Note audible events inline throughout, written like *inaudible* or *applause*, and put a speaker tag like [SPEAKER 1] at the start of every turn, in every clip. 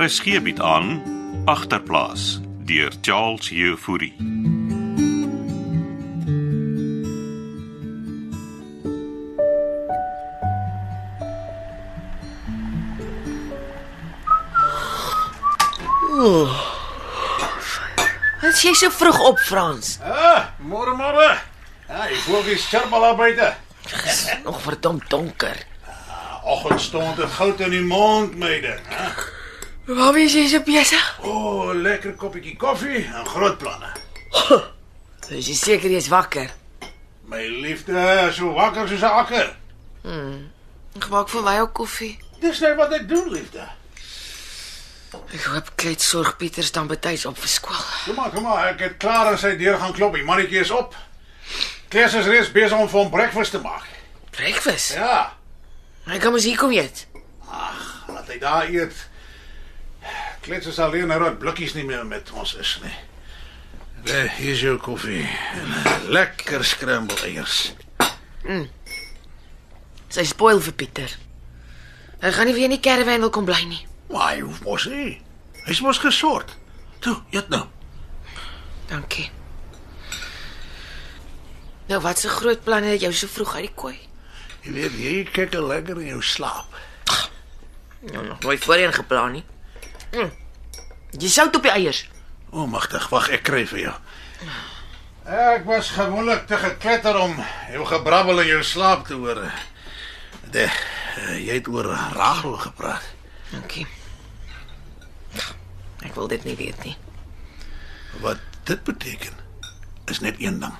[SPEAKER 1] RSG bied Er aan agterplaas deur Charles Jefouri.
[SPEAKER 2] Wat jy so vroeg op, Frans?
[SPEAKER 3] Ah, môre môre. Ja, ek voel die skermal daar buite.
[SPEAKER 2] Nog verdomp donker.
[SPEAKER 3] Oggend stond dit goud in die mond, meide. hè?
[SPEAKER 2] Waar was jy so besig?
[SPEAKER 3] O, oh, lekker koppietjie koffie en groot planne.
[SPEAKER 2] Is jy seker jy's wakker?
[SPEAKER 3] My liefde, so wakker soos 'n akker.
[SPEAKER 2] Ek maak vir my ook koffie.
[SPEAKER 3] Dis net wat ek doen, liefde.
[SPEAKER 2] Ek hoop Klet sorg Pieters dan betyds op vir skool.
[SPEAKER 3] Kom maar, kom maar, ek het klaar aan sy deur gaan klop. Die mannetjie is op. Klees is reeds besig om vir hom breakfast te maak.
[SPEAKER 2] Breakfast.
[SPEAKER 3] Ja,
[SPEAKER 2] Hy kan mos hier kom eet.
[SPEAKER 3] laat hy daar eet. Klees is alleen en rood blikkies nie meer met ons is nie. Daar is jou koffie. En eh, lekker scramble eiers.
[SPEAKER 2] Sy spoil vir Pieter. Hy gaan nie weer in die karavaan wil kom bly nie.
[SPEAKER 3] Maar hy hoef mos nie. Hy's mos gesort. Toe, eet nou.
[SPEAKER 2] Dankie. Nou, wat se groot planne het jou so vroeg uit die kooi?
[SPEAKER 3] Jy weet jy kyk al lekker in jou slaap.
[SPEAKER 2] Nou, nog nooit voorheen geplan nie. Mm. Jy sout op die eiers.
[SPEAKER 3] O, magtig, wag, ek kry vir jou. Ek was gewoonlik te gekletter om jou gebrabbel in jou slaap te hoor. De, eh, jy het oor Rachel gepraat.
[SPEAKER 2] Dankie. Ek wil dit nie weet nie.
[SPEAKER 3] Wat dit beteken is net een ding.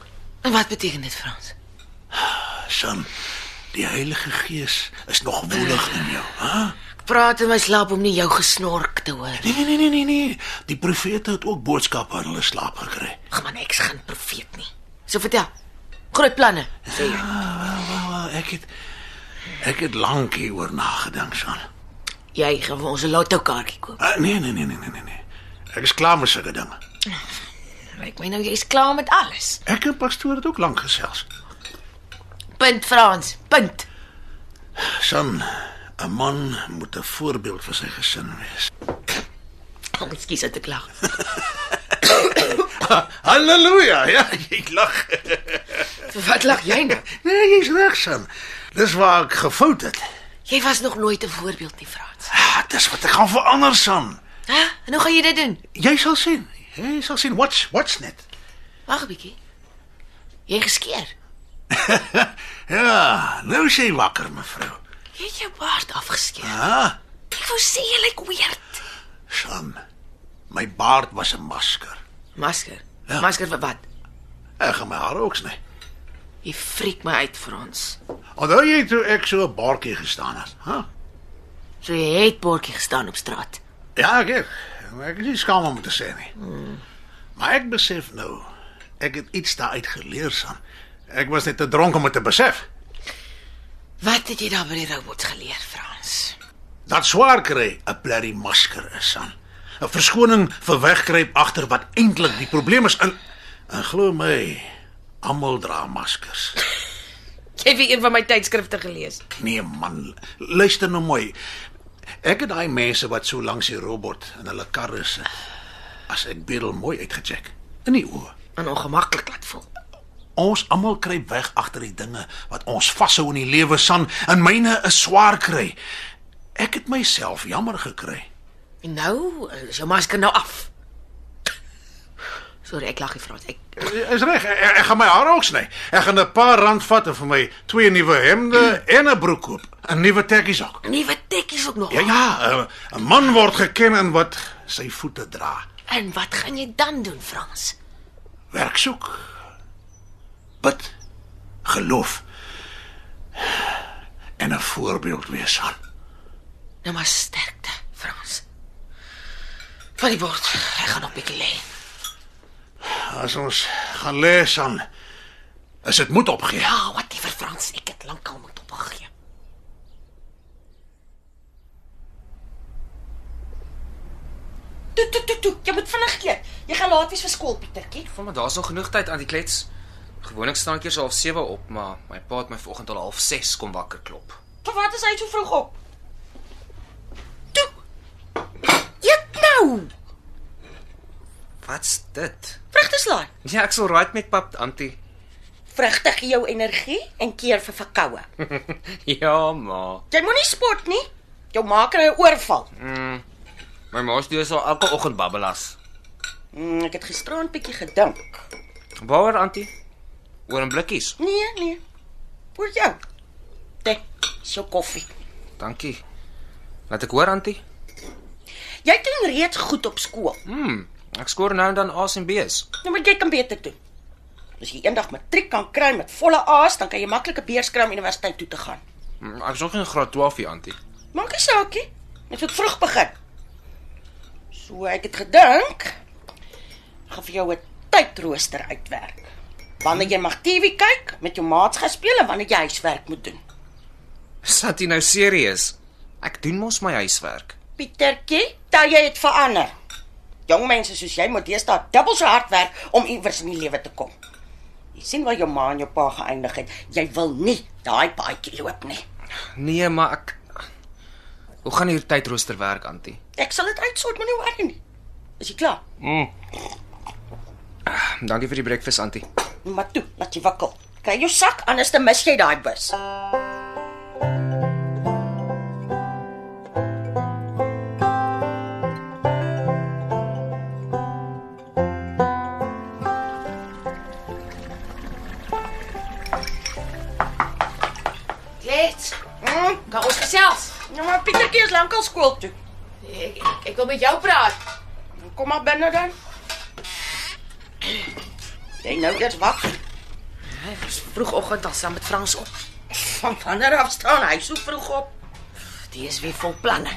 [SPEAKER 2] En wat beteken dit, Frans?
[SPEAKER 3] Son, die Heilige Gees is nog woelig in jou, hè?
[SPEAKER 2] Ek praat in my slaap om nie jou gesnork te hoor.
[SPEAKER 3] Nee, nee, nee, nee, nee, nee. Die profete het ook boodskappe aan hulle slaap gekry.
[SPEAKER 2] Ag man, ek's geen profeet nie. So vertel. Groot planne, sê jy.
[SPEAKER 3] Wel, wel, Nou, eh, ek het ek het lank hieroor nagedink, San.
[SPEAKER 2] Jy gaan vir ons 'n lotto kaartjie koop.
[SPEAKER 3] Uh, nee, nee, nee, nee, nee, nee, nee. Ek is klaar met sulke dinge.
[SPEAKER 2] Lyk my nou jy's klaar met alles.
[SPEAKER 3] Ek en pastoor het ook lank gesels.
[SPEAKER 2] Punt, Frans. Punt.
[SPEAKER 3] San, 'n man moet 'n voorbeeld vir sy gesin wees.
[SPEAKER 2] Kom, oh, skus dat ek lag.
[SPEAKER 3] Halleluja. *laughs* Ja, ek lag.
[SPEAKER 2] Vir wat lag jy nou?
[SPEAKER 3] Nee, jy's reg, San. Dis waar ek gefout het.
[SPEAKER 2] Jy was nog nooit 'n voorbeeld nie, Frans.
[SPEAKER 3] Ah, dis wat ek gaan verander, San.
[SPEAKER 2] Hæ? En hoe gaan jy dit doen?
[SPEAKER 3] Jy sal sien. Jy sal sien wat's wat's net.
[SPEAKER 2] Wag 'n bietjie. Jy geskeer.
[SPEAKER 3] Ja, nou sê wakker, mevrou.
[SPEAKER 2] Jy het jou baard afgeskeer.
[SPEAKER 3] Ah.
[SPEAKER 2] Ek wou sê jy lyk weird.
[SPEAKER 3] Son, my baard was 'n masker.
[SPEAKER 2] Masker.
[SPEAKER 3] Ja.
[SPEAKER 2] Masker vir wat?
[SPEAKER 3] Ek gaan my hare ook sny.
[SPEAKER 2] Jy freak my uit, Frans.
[SPEAKER 3] Onthou jy toe ek so 'n baartjie gestaan het, hè? Huh?
[SPEAKER 2] So jy het bordjie gestaan op straat.
[SPEAKER 3] Ja, ek het. Maar Ek is nie skaam om te sê nie. Maar ek besef nou, ek het iets daaruit geleer, son. Ek was net te dronk om dit te besef.
[SPEAKER 2] Wat het jy daar by die robots geleer, Frans?
[SPEAKER 3] Dat swaar kry 'n blerrie masker is, son. 'n Verskoning vir wegkruip agter wat eintlik die probleem is in en glo my, almal dra maskers.
[SPEAKER 2] Jy het weer een van my tydskrifte gelees.
[SPEAKER 3] Nee man, luister nou mooi. Ek het daai mense wat so langs die robot in hulle karre sit. As ek bedel mooi uitgecheck in die oë.
[SPEAKER 2] En ongemaklik laat voel.
[SPEAKER 3] Ons almal kruip weg agter die dinge wat ons vashou in die lewe san en myne is swaar kry. Ek het myself jammer gekry.
[SPEAKER 2] En nou is jou masker nou af. Sorry, ek lag nie, Frans. Ek
[SPEAKER 3] Eh, Is reg, ek, ek gaan my hare ook sny. Ek gaan 'n paar rand vat en vir my twee nuwe hemde en 'n broek koop, 'n nuwe tekkies ook.
[SPEAKER 2] nuwe tekkies ook nog.
[SPEAKER 3] Ja ja, 'n- 'n man word geken aan wat sy voete dra.
[SPEAKER 2] En wat gaan jy dan doen, Frans?
[SPEAKER 3] werk soek. Bid, geloof en 'n voorbeeld wees aan.
[SPEAKER 2] Nou maar sterkte, Frans. Van die bord. Ek gaan op 'n bietjie lê.
[SPEAKER 3] As ons gaan lees aan is dit moet opgee.
[SPEAKER 2] Ja, whatever, Frans. Ek het lankal moet opgee.
[SPEAKER 4] Toe toe toe toe, jy moet vinnig eet. Jy gaan laat wees vir skool, Pietertjie.
[SPEAKER 5] Van maar daar's nog genoeg tyd aan die klets. Gewoonlik staan ek eers half 7 op, maar my pa het my vanoggend al half 6 kom wakker klop.
[SPEAKER 4] Vir wat is hy so vroeg op? Toe.
[SPEAKER 2] Au!
[SPEAKER 5] Wat's dit?
[SPEAKER 2] Vrugteslaai.
[SPEAKER 5] Ja, ek sal right met pap, antie.
[SPEAKER 2] Vrugte gee jou energie en keer vir verkoue.
[SPEAKER 5] *laughs* Ja, ma.
[SPEAKER 2] Jy moenie sport nie. Jou ma kry 'n oorval.
[SPEAKER 5] My ma se doen al elke oggend babbelas.
[SPEAKER 2] Mm, ek het gisteraan bietjie gedink.
[SPEAKER 5] Waaroor, antie? Oor 'n blikkies.
[SPEAKER 2] Nee, nee. Oor jou. Dit is jou koffie.
[SPEAKER 5] Dankie. Laat ek hoor, antie.
[SPEAKER 2] Jy doen reeds goed op skool.
[SPEAKER 5] Mm, ek skoor nou en dan A's en B's.
[SPEAKER 2] Nou maar jy kan beter doen. As jy eendag matriek kan kry met volle A's, dan kan jy maklik 'n beurs kry om universiteit toe te gaan.
[SPEAKER 5] Mm, Ek is nog in graad 12 hier, *laughs* antie.
[SPEAKER 2] Maak nie saak nie. Net moet vroeg begin. So ek het gedink ek gaan vir jou 'n tydrooster uitwerk. Wanneer jy mag TV kyk, met jou maats gaan speel en wanneer jy huiswerk moet doen.
[SPEAKER 5] Is antie nou serieus? Ek doen mos my huiswerk.
[SPEAKER 2] Pietertjie, daai jy het verander. Jong mense soos jy moet deesdae dubbel so hard werk om iewers in die lewe te kom. Jy sien waar jou ma en jou pa geëindig het. Jy wil nie daai paadjie loop nie.
[SPEAKER 5] Nee, maar ek Hoe gaan hier tydrooster werk, antie?
[SPEAKER 2] Ek sal dit uitsort, moenie worry nie. Is jy klaar?
[SPEAKER 5] Dankie vir die breakfast, antie.
[SPEAKER 2] Maar toe, laat jy wakkel. Kry jou sak anders dan mis jy daai bus.
[SPEAKER 6] Klets,
[SPEAKER 2] Mm,
[SPEAKER 6] kan ons gesels?
[SPEAKER 2] nou maar Pietertjie is lankal skool toe. Nou,
[SPEAKER 6] Ek, ek, ek wil met jou praat.
[SPEAKER 2] Kom maar binne dan. Jy nou eers wakker.
[SPEAKER 6] Ek was vroegoggend al saam met Frans op.
[SPEAKER 2] Van wanneer af staan hy so vroeg op?
[SPEAKER 6] Die is weer vol planne.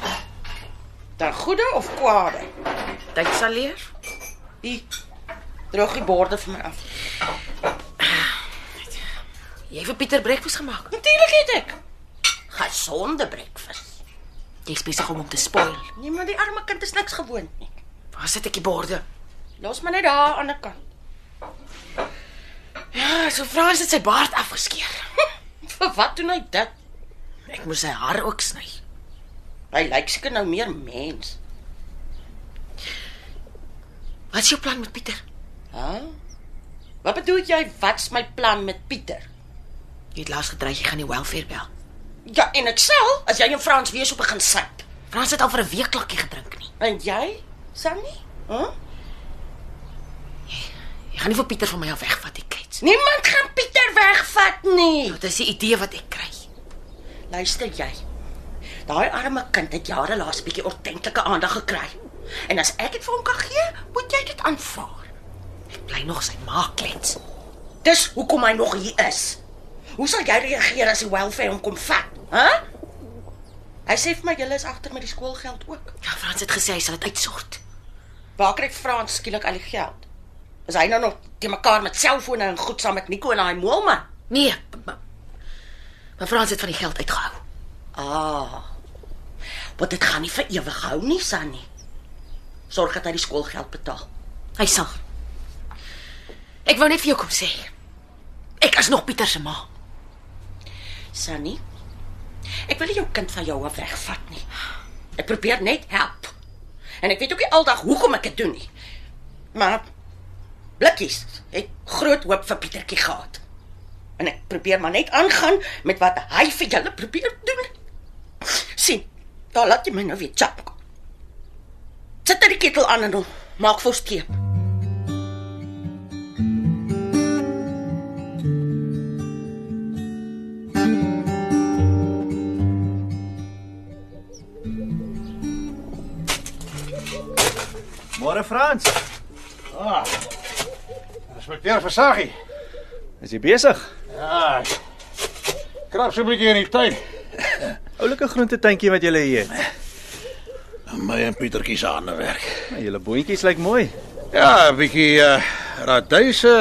[SPEAKER 2] Dan goeie of kwade?
[SPEAKER 6] Tyd sal leer.
[SPEAKER 2] Hier. Droog die borde vir my af.
[SPEAKER 6] Jy het vir Pieter breakfast gemaak.
[SPEAKER 2] Natuurlik het ek. Gesonde breakfast.
[SPEAKER 6] Jy's besig om hom te spoil.
[SPEAKER 2] Nee, maar die arme kind is niks gewoond nie.
[SPEAKER 6] Waar sit ek die borde?
[SPEAKER 2] Los maar net daar aan die ander kant. *laughs*
[SPEAKER 6] Ja, so Frans het sy baard afgeskeer.
[SPEAKER 2] Vir wat doen hy dit?
[SPEAKER 6] Ek moes sy hare ook sny.
[SPEAKER 2] Hy lyk seker nou meer mens.
[SPEAKER 6] Wat is jou plan met Pieter?
[SPEAKER 2] Hæ? Ja? Wat bedoel jy wat's my plan met Pieter?
[SPEAKER 6] Jy het laas gedreig jy gaan die welfare bel.
[SPEAKER 2] Ja, en ek sal as jy in Frans weer so begin sit.
[SPEAKER 6] Frans het al vir 'n week klakkie gedrink nie.
[SPEAKER 2] En jy, Sannie? Hæ?
[SPEAKER 6] Jy gaan nie vir Pieter van my af wegvat, ek kyk.
[SPEAKER 2] Niemand gaan Pieter wegvat nie.
[SPEAKER 6] Wat is die idee wat ek kry?
[SPEAKER 2] Luister jy. Daai arme kind het jare laas 'n bietjie ordentlike aandag gekry. En as ek dit vir hom kan gee, moet jy dit aanvaar.
[SPEAKER 6] Ek bly nog sy ma klets.
[SPEAKER 2] Dis hoekom hy nog hier is. Hoe sal jy reageer as die welfare hom kom vat? Hæ? Hy sê vir my julle is agter met die skoolgeld ook.
[SPEAKER 6] Ja, Frans het gesê hy sal dit uitsort.
[SPEAKER 2] Waar kry Frans skielik al die geld? Is hy nou nog te mekaar met selfone en goed saam met Nico en daai moelman?
[SPEAKER 6] Nee, maar, maar Frans het van die geld uitgehou.
[SPEAKER 2] Ah. Want dit gaan nie vir ewig hou nie, Sannie. Sorg dat hy die skoolgeld betaal.
[SPEAKER 6] Hy sal. Ek wou net vir jou kom sê. Ek is nog Pieter se ma.
[SPEAKER 2] Sunny. Ek wil nie jou kind van jou af wegvat nie. Ek probeer net help. En ek weet ook nie aldag hoekom ek dit doen nie. Maar blikkies het groot hoop vir Pietertjie gehad. En ek probeer maar net aangaan met wat hy vir julle probeer doen. sien, daar laat jy my nou weer chap. Sit dit die ketel aan en dan maak vir steep.
[SPEAKER 7] Môre Frans.
[SPEAKER 3] Ah. Inspekteur Versaggie.
[SPEAKER 7] Is jy besig?
[SPEAKER 3] Ja. ek Krap so 'n bietjie in die tuin.
[SPEAKER 7] Oulike groentetuintjie wat jy hier het.
[SPEAKER 3] My en Pietertjie se ander werk.
[SPEAKER 7] Nou, Julle boontjies lyk mooi.
[SPEAKER 3] Ja, 'n bietjie uh, raduise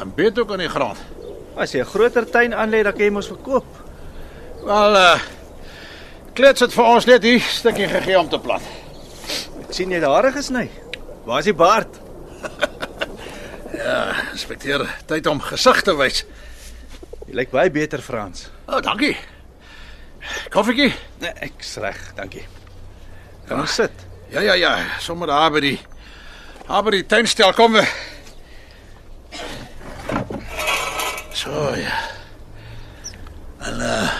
[SPEAKER 3] en eh, beet ook aan die grond.
[SPEAKER 7] As jy 'n groter tuin aanlê, dan kan jy mos verkoop.
[SPEAKER 3] Wel uh klets het vir ons net hier stukkie gegee om te plant.
[SPEAKER 7] Ek sien jy het hare gesny. Waar is die baard?
[SPEAKER 3] Inspekteur, tyd om gesig te wys.
[SPEAKER 7] Jy lyk baie beter Frans.
[SPEAKER 3] O, oh, dankie. Koffietjie?
[SPEAKER 7] Nee, ek's reg, dankie. Kom ons sit.
[SPEAKER 3] Ja ja ja, sommer daar by die daar by die tuinstel kom we. So ja. En uh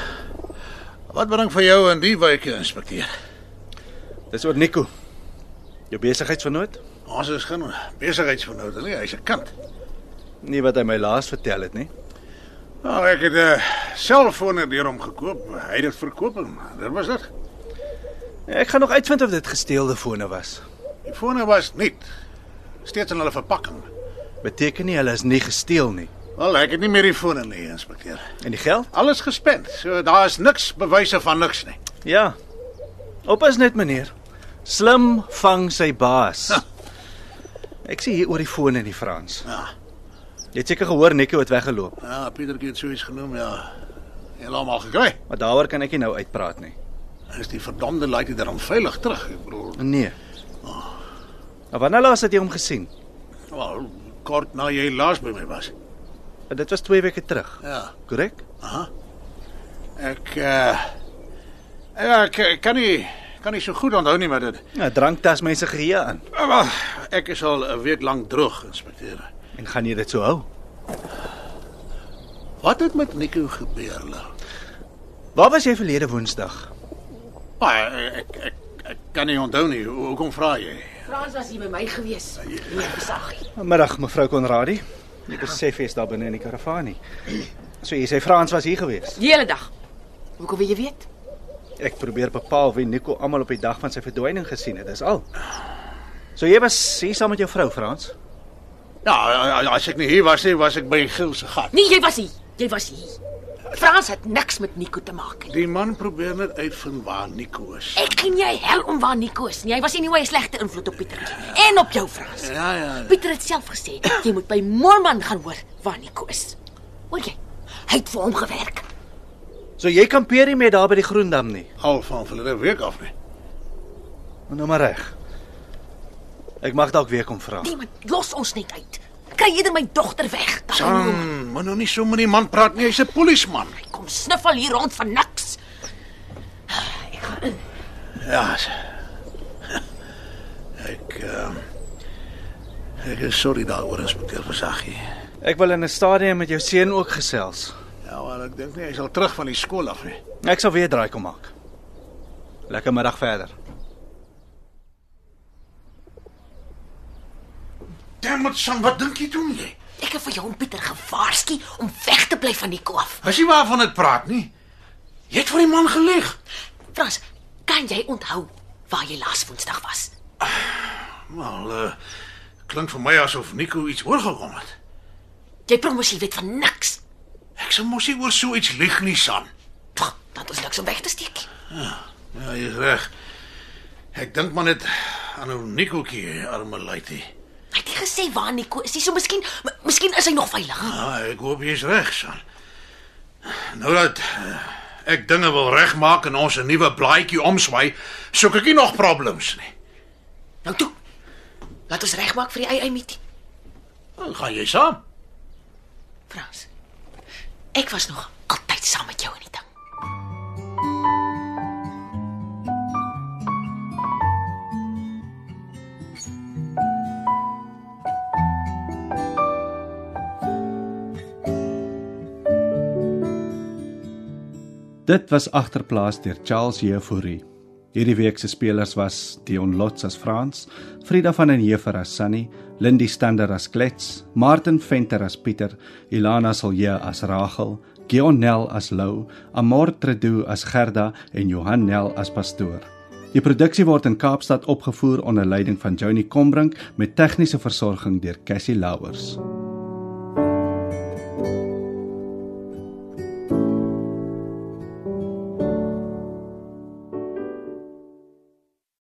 [SPEAKER 3] wat bring vir jou in die wyke inspekteur?
[SPEAKER 7] Dis oor Nico. Jou besigheidsvernoot?
[SPEAKER 3] Ons is geen besigheidsvernoot nie, hy's 'n kant.
[SPEAKER 7] Nie wat hy my laas vertel het nie.
[SPEAKER 3] Nou, ek het 'n selfoon deur hom gekoop. Hy het dit verkoop. en Dit was dit.
[SPEAKER 7] Ek gaan nog uitvind of dit gesteelde fone was.
[SPEAKER 3] Die fone was nie steeds in hulle verpakking.
[SPEAKER 7] Beteken nie hulle is nie gesteel nie.
[SPEAKER 3] Wel, ek het nie meer die fone nie, inspekteur.
[SPEAKER 7] En die geld?
[SPEAKER 3] Alles gespend. So daar is niks bewyse van niks nie.
[SPEAKER 7] Ja. Oppas net meneer. Slim vang sy baas.
[SPEAKER 3] Ha.
[SPEAKER 7] Ek sien hier oor die foon in die Frans.
[SPEAKER 3] Ja.
[SPEAKER 7] Jy het seker gehoor Nico het weggeloop,
[SPEAKER 3] Ja, Pietertjie het so iets genoem, ja. Helemaal gekry.
[SPEAKER 7] maar daaroor kan ek nie nou uitpraat nie.
[SPEAKER 3] Is die verdomde laaitie daarom veilig terug? Ek bedoel,
[SPEAKER 7] Nee. Maar wanneer laas het jy hom gesien?
[SPEAKER 3] wel, kort na jy laas by my was.
[SPEAKER 7] Dit was 2 weke terug,
[SPEAKER 3] Ja.
[SPEAKER 7] korrek?
[SPEAKER 3] Ek eh ja, ek, ek kan nie kan nie so goed onthou nie, maar dit.
[SPEAKER 7] Ja, dranktas mense geheue aan.
[SPEAKER 3] Ah, wel, Ek is al 'n week lank droog, inspekteur.
[SPEAKER 7] En gaan jy dit so hou?
[SPEAKER 3] Wat het met Nico gebeur, Lou?
[SPEAKER 7] Waar was jy verlede Woensdag?
[SPEAKER 3] Maar eh, ek ek ek kan nie onthou nie. Hoe- Hoekom vra jy?
[SPEAKER 2] Frans was hier by my gewees. Nee, besaggie.
[SPEAKER 7] Middag mevrou Konradi. Ek besef jy's daar binne in die karavaan nie. So jy sê Frans was hier gewees.
[SPEAKER 2] Die hele dag. Hoekom wil jy weet?
[SPEAKER 7] Ek probeer bepaal wie Nico almal op die dag van sy verdwyning gesien het, dis al. So jy was hier saam met jou vrou Frans?
[SPEAKER 3] Ja, as ek nie hier was nie, was ek by Giel se gat.
[SPEAKER 2] Nee, jy was hier. Jy was hier. Frans het niks met Nico te maak nie.
[SPEAKER 3] Die man probeer net uitvind waar Nico is.
[SPEAKER 2] Ek ken jy hel om waar Nico is. nie. Hy was nie hoe 'n slegte invloed op Pieter nie. en op jou Frans.
[SPEAKER 3] Ja, ja.
[SPEAKER 2] Pieter het self gesê jy moet by Moorman gaan hoor waar Nico is. Hoor jy? Hy het vir hom gewerk.
[SPEAKER 7] So jy kampeer nie meer daar by die Groendam nie.
[SPEAKER 3] Al van verlede week af nee. nie.
[SPEAKER 7] Nou maar reg. Ek mag dalk weer kom vra.
[SPEAKER 2] Nee, maar los ons net uit. Kry eerder my dogter weg. Dan
[SPEAKER 3] nee. Sam, moet nou nie so met die man praat nie. Hy's 'n polisieman.
[SPEAKER 2] kom sniffel hier rond van niks. Ek gaan in.
[SPEAKER 3] Ja. s- *laughs* Ek ehm ek is sorry daaroor, inspekteur Versaggie.
[SPEAKER 7] Ek wil in 'n stadium met jou seun ook gesels.
[SPEAKER 3] Ja, maar ek dink nie hy is al terug van die skool af nee. nie.
[SPEAKER 7] Ek sal weer draai kom maak. Lekker middag verder.
[SPEAKER 3] Damn it, Sam, wat dink jy doen jy?
[SPEAKER 2] Ek het vir jou en Pieter gewaarsku om weg te bly van Nico af.
[SPEAKER 3] As jy waarvan dit praat nie. Jy het vir die man gelieg.
[SPEAKER 2] Frans, kan jy onthou waar jy laas Woensdag was?
[SPEAKER 3] Wel, uh, klink vir my asof Nico iets oorgekom het.
[SPEAKER 2] Jy promis jy weet van niks.
[SPEAKER 3] Ek sou mos nie oor so iets lieg nie, Sam.
[SPEAKER 2] Pff, Dat is niks om weg te steek. nie.
[SPEAKER 3] Ja, jy's reg. Ek dink maar net aan ou Nicoetjie, arme laaitie.
[SPEAKER 2] Hy het nie gesê waar Nico is nie, so miskien m- miskien is hy nog veilig.
[SPEAKER 3] Ja, ek hoop jy's reg, San. Nou dat eh, ek dinge wil regmaak en ons 'n nuwe blaadjie omswaai, soek ek nie nog problems nie.
[SPEAKER 2] Nou toe. Laat ons regmaak vir die AI meeting,
[SPEAKER 3] Dan gaan jy saam.
[SPEAKER 2] Frans. Ek was nog altyd saam met jou in die ding.
[SPEAKER 8] Dit was agterplaas deur Charles Jefouri. Hierdie week se spelers was Dion Lots as Frans, Frida van den Heever as Sunny, Lindy Stander as Klets, Martin Venter as Pieter, Ilana Silje as Rachel, Gionel as Lou, Amor Tredu as Gerda en Johan Nel as pastoor. Die produksie word in Kaapstad opgevoer onder leiding van Johnny Combrink met tegniese versorging deur Cassie Louwers.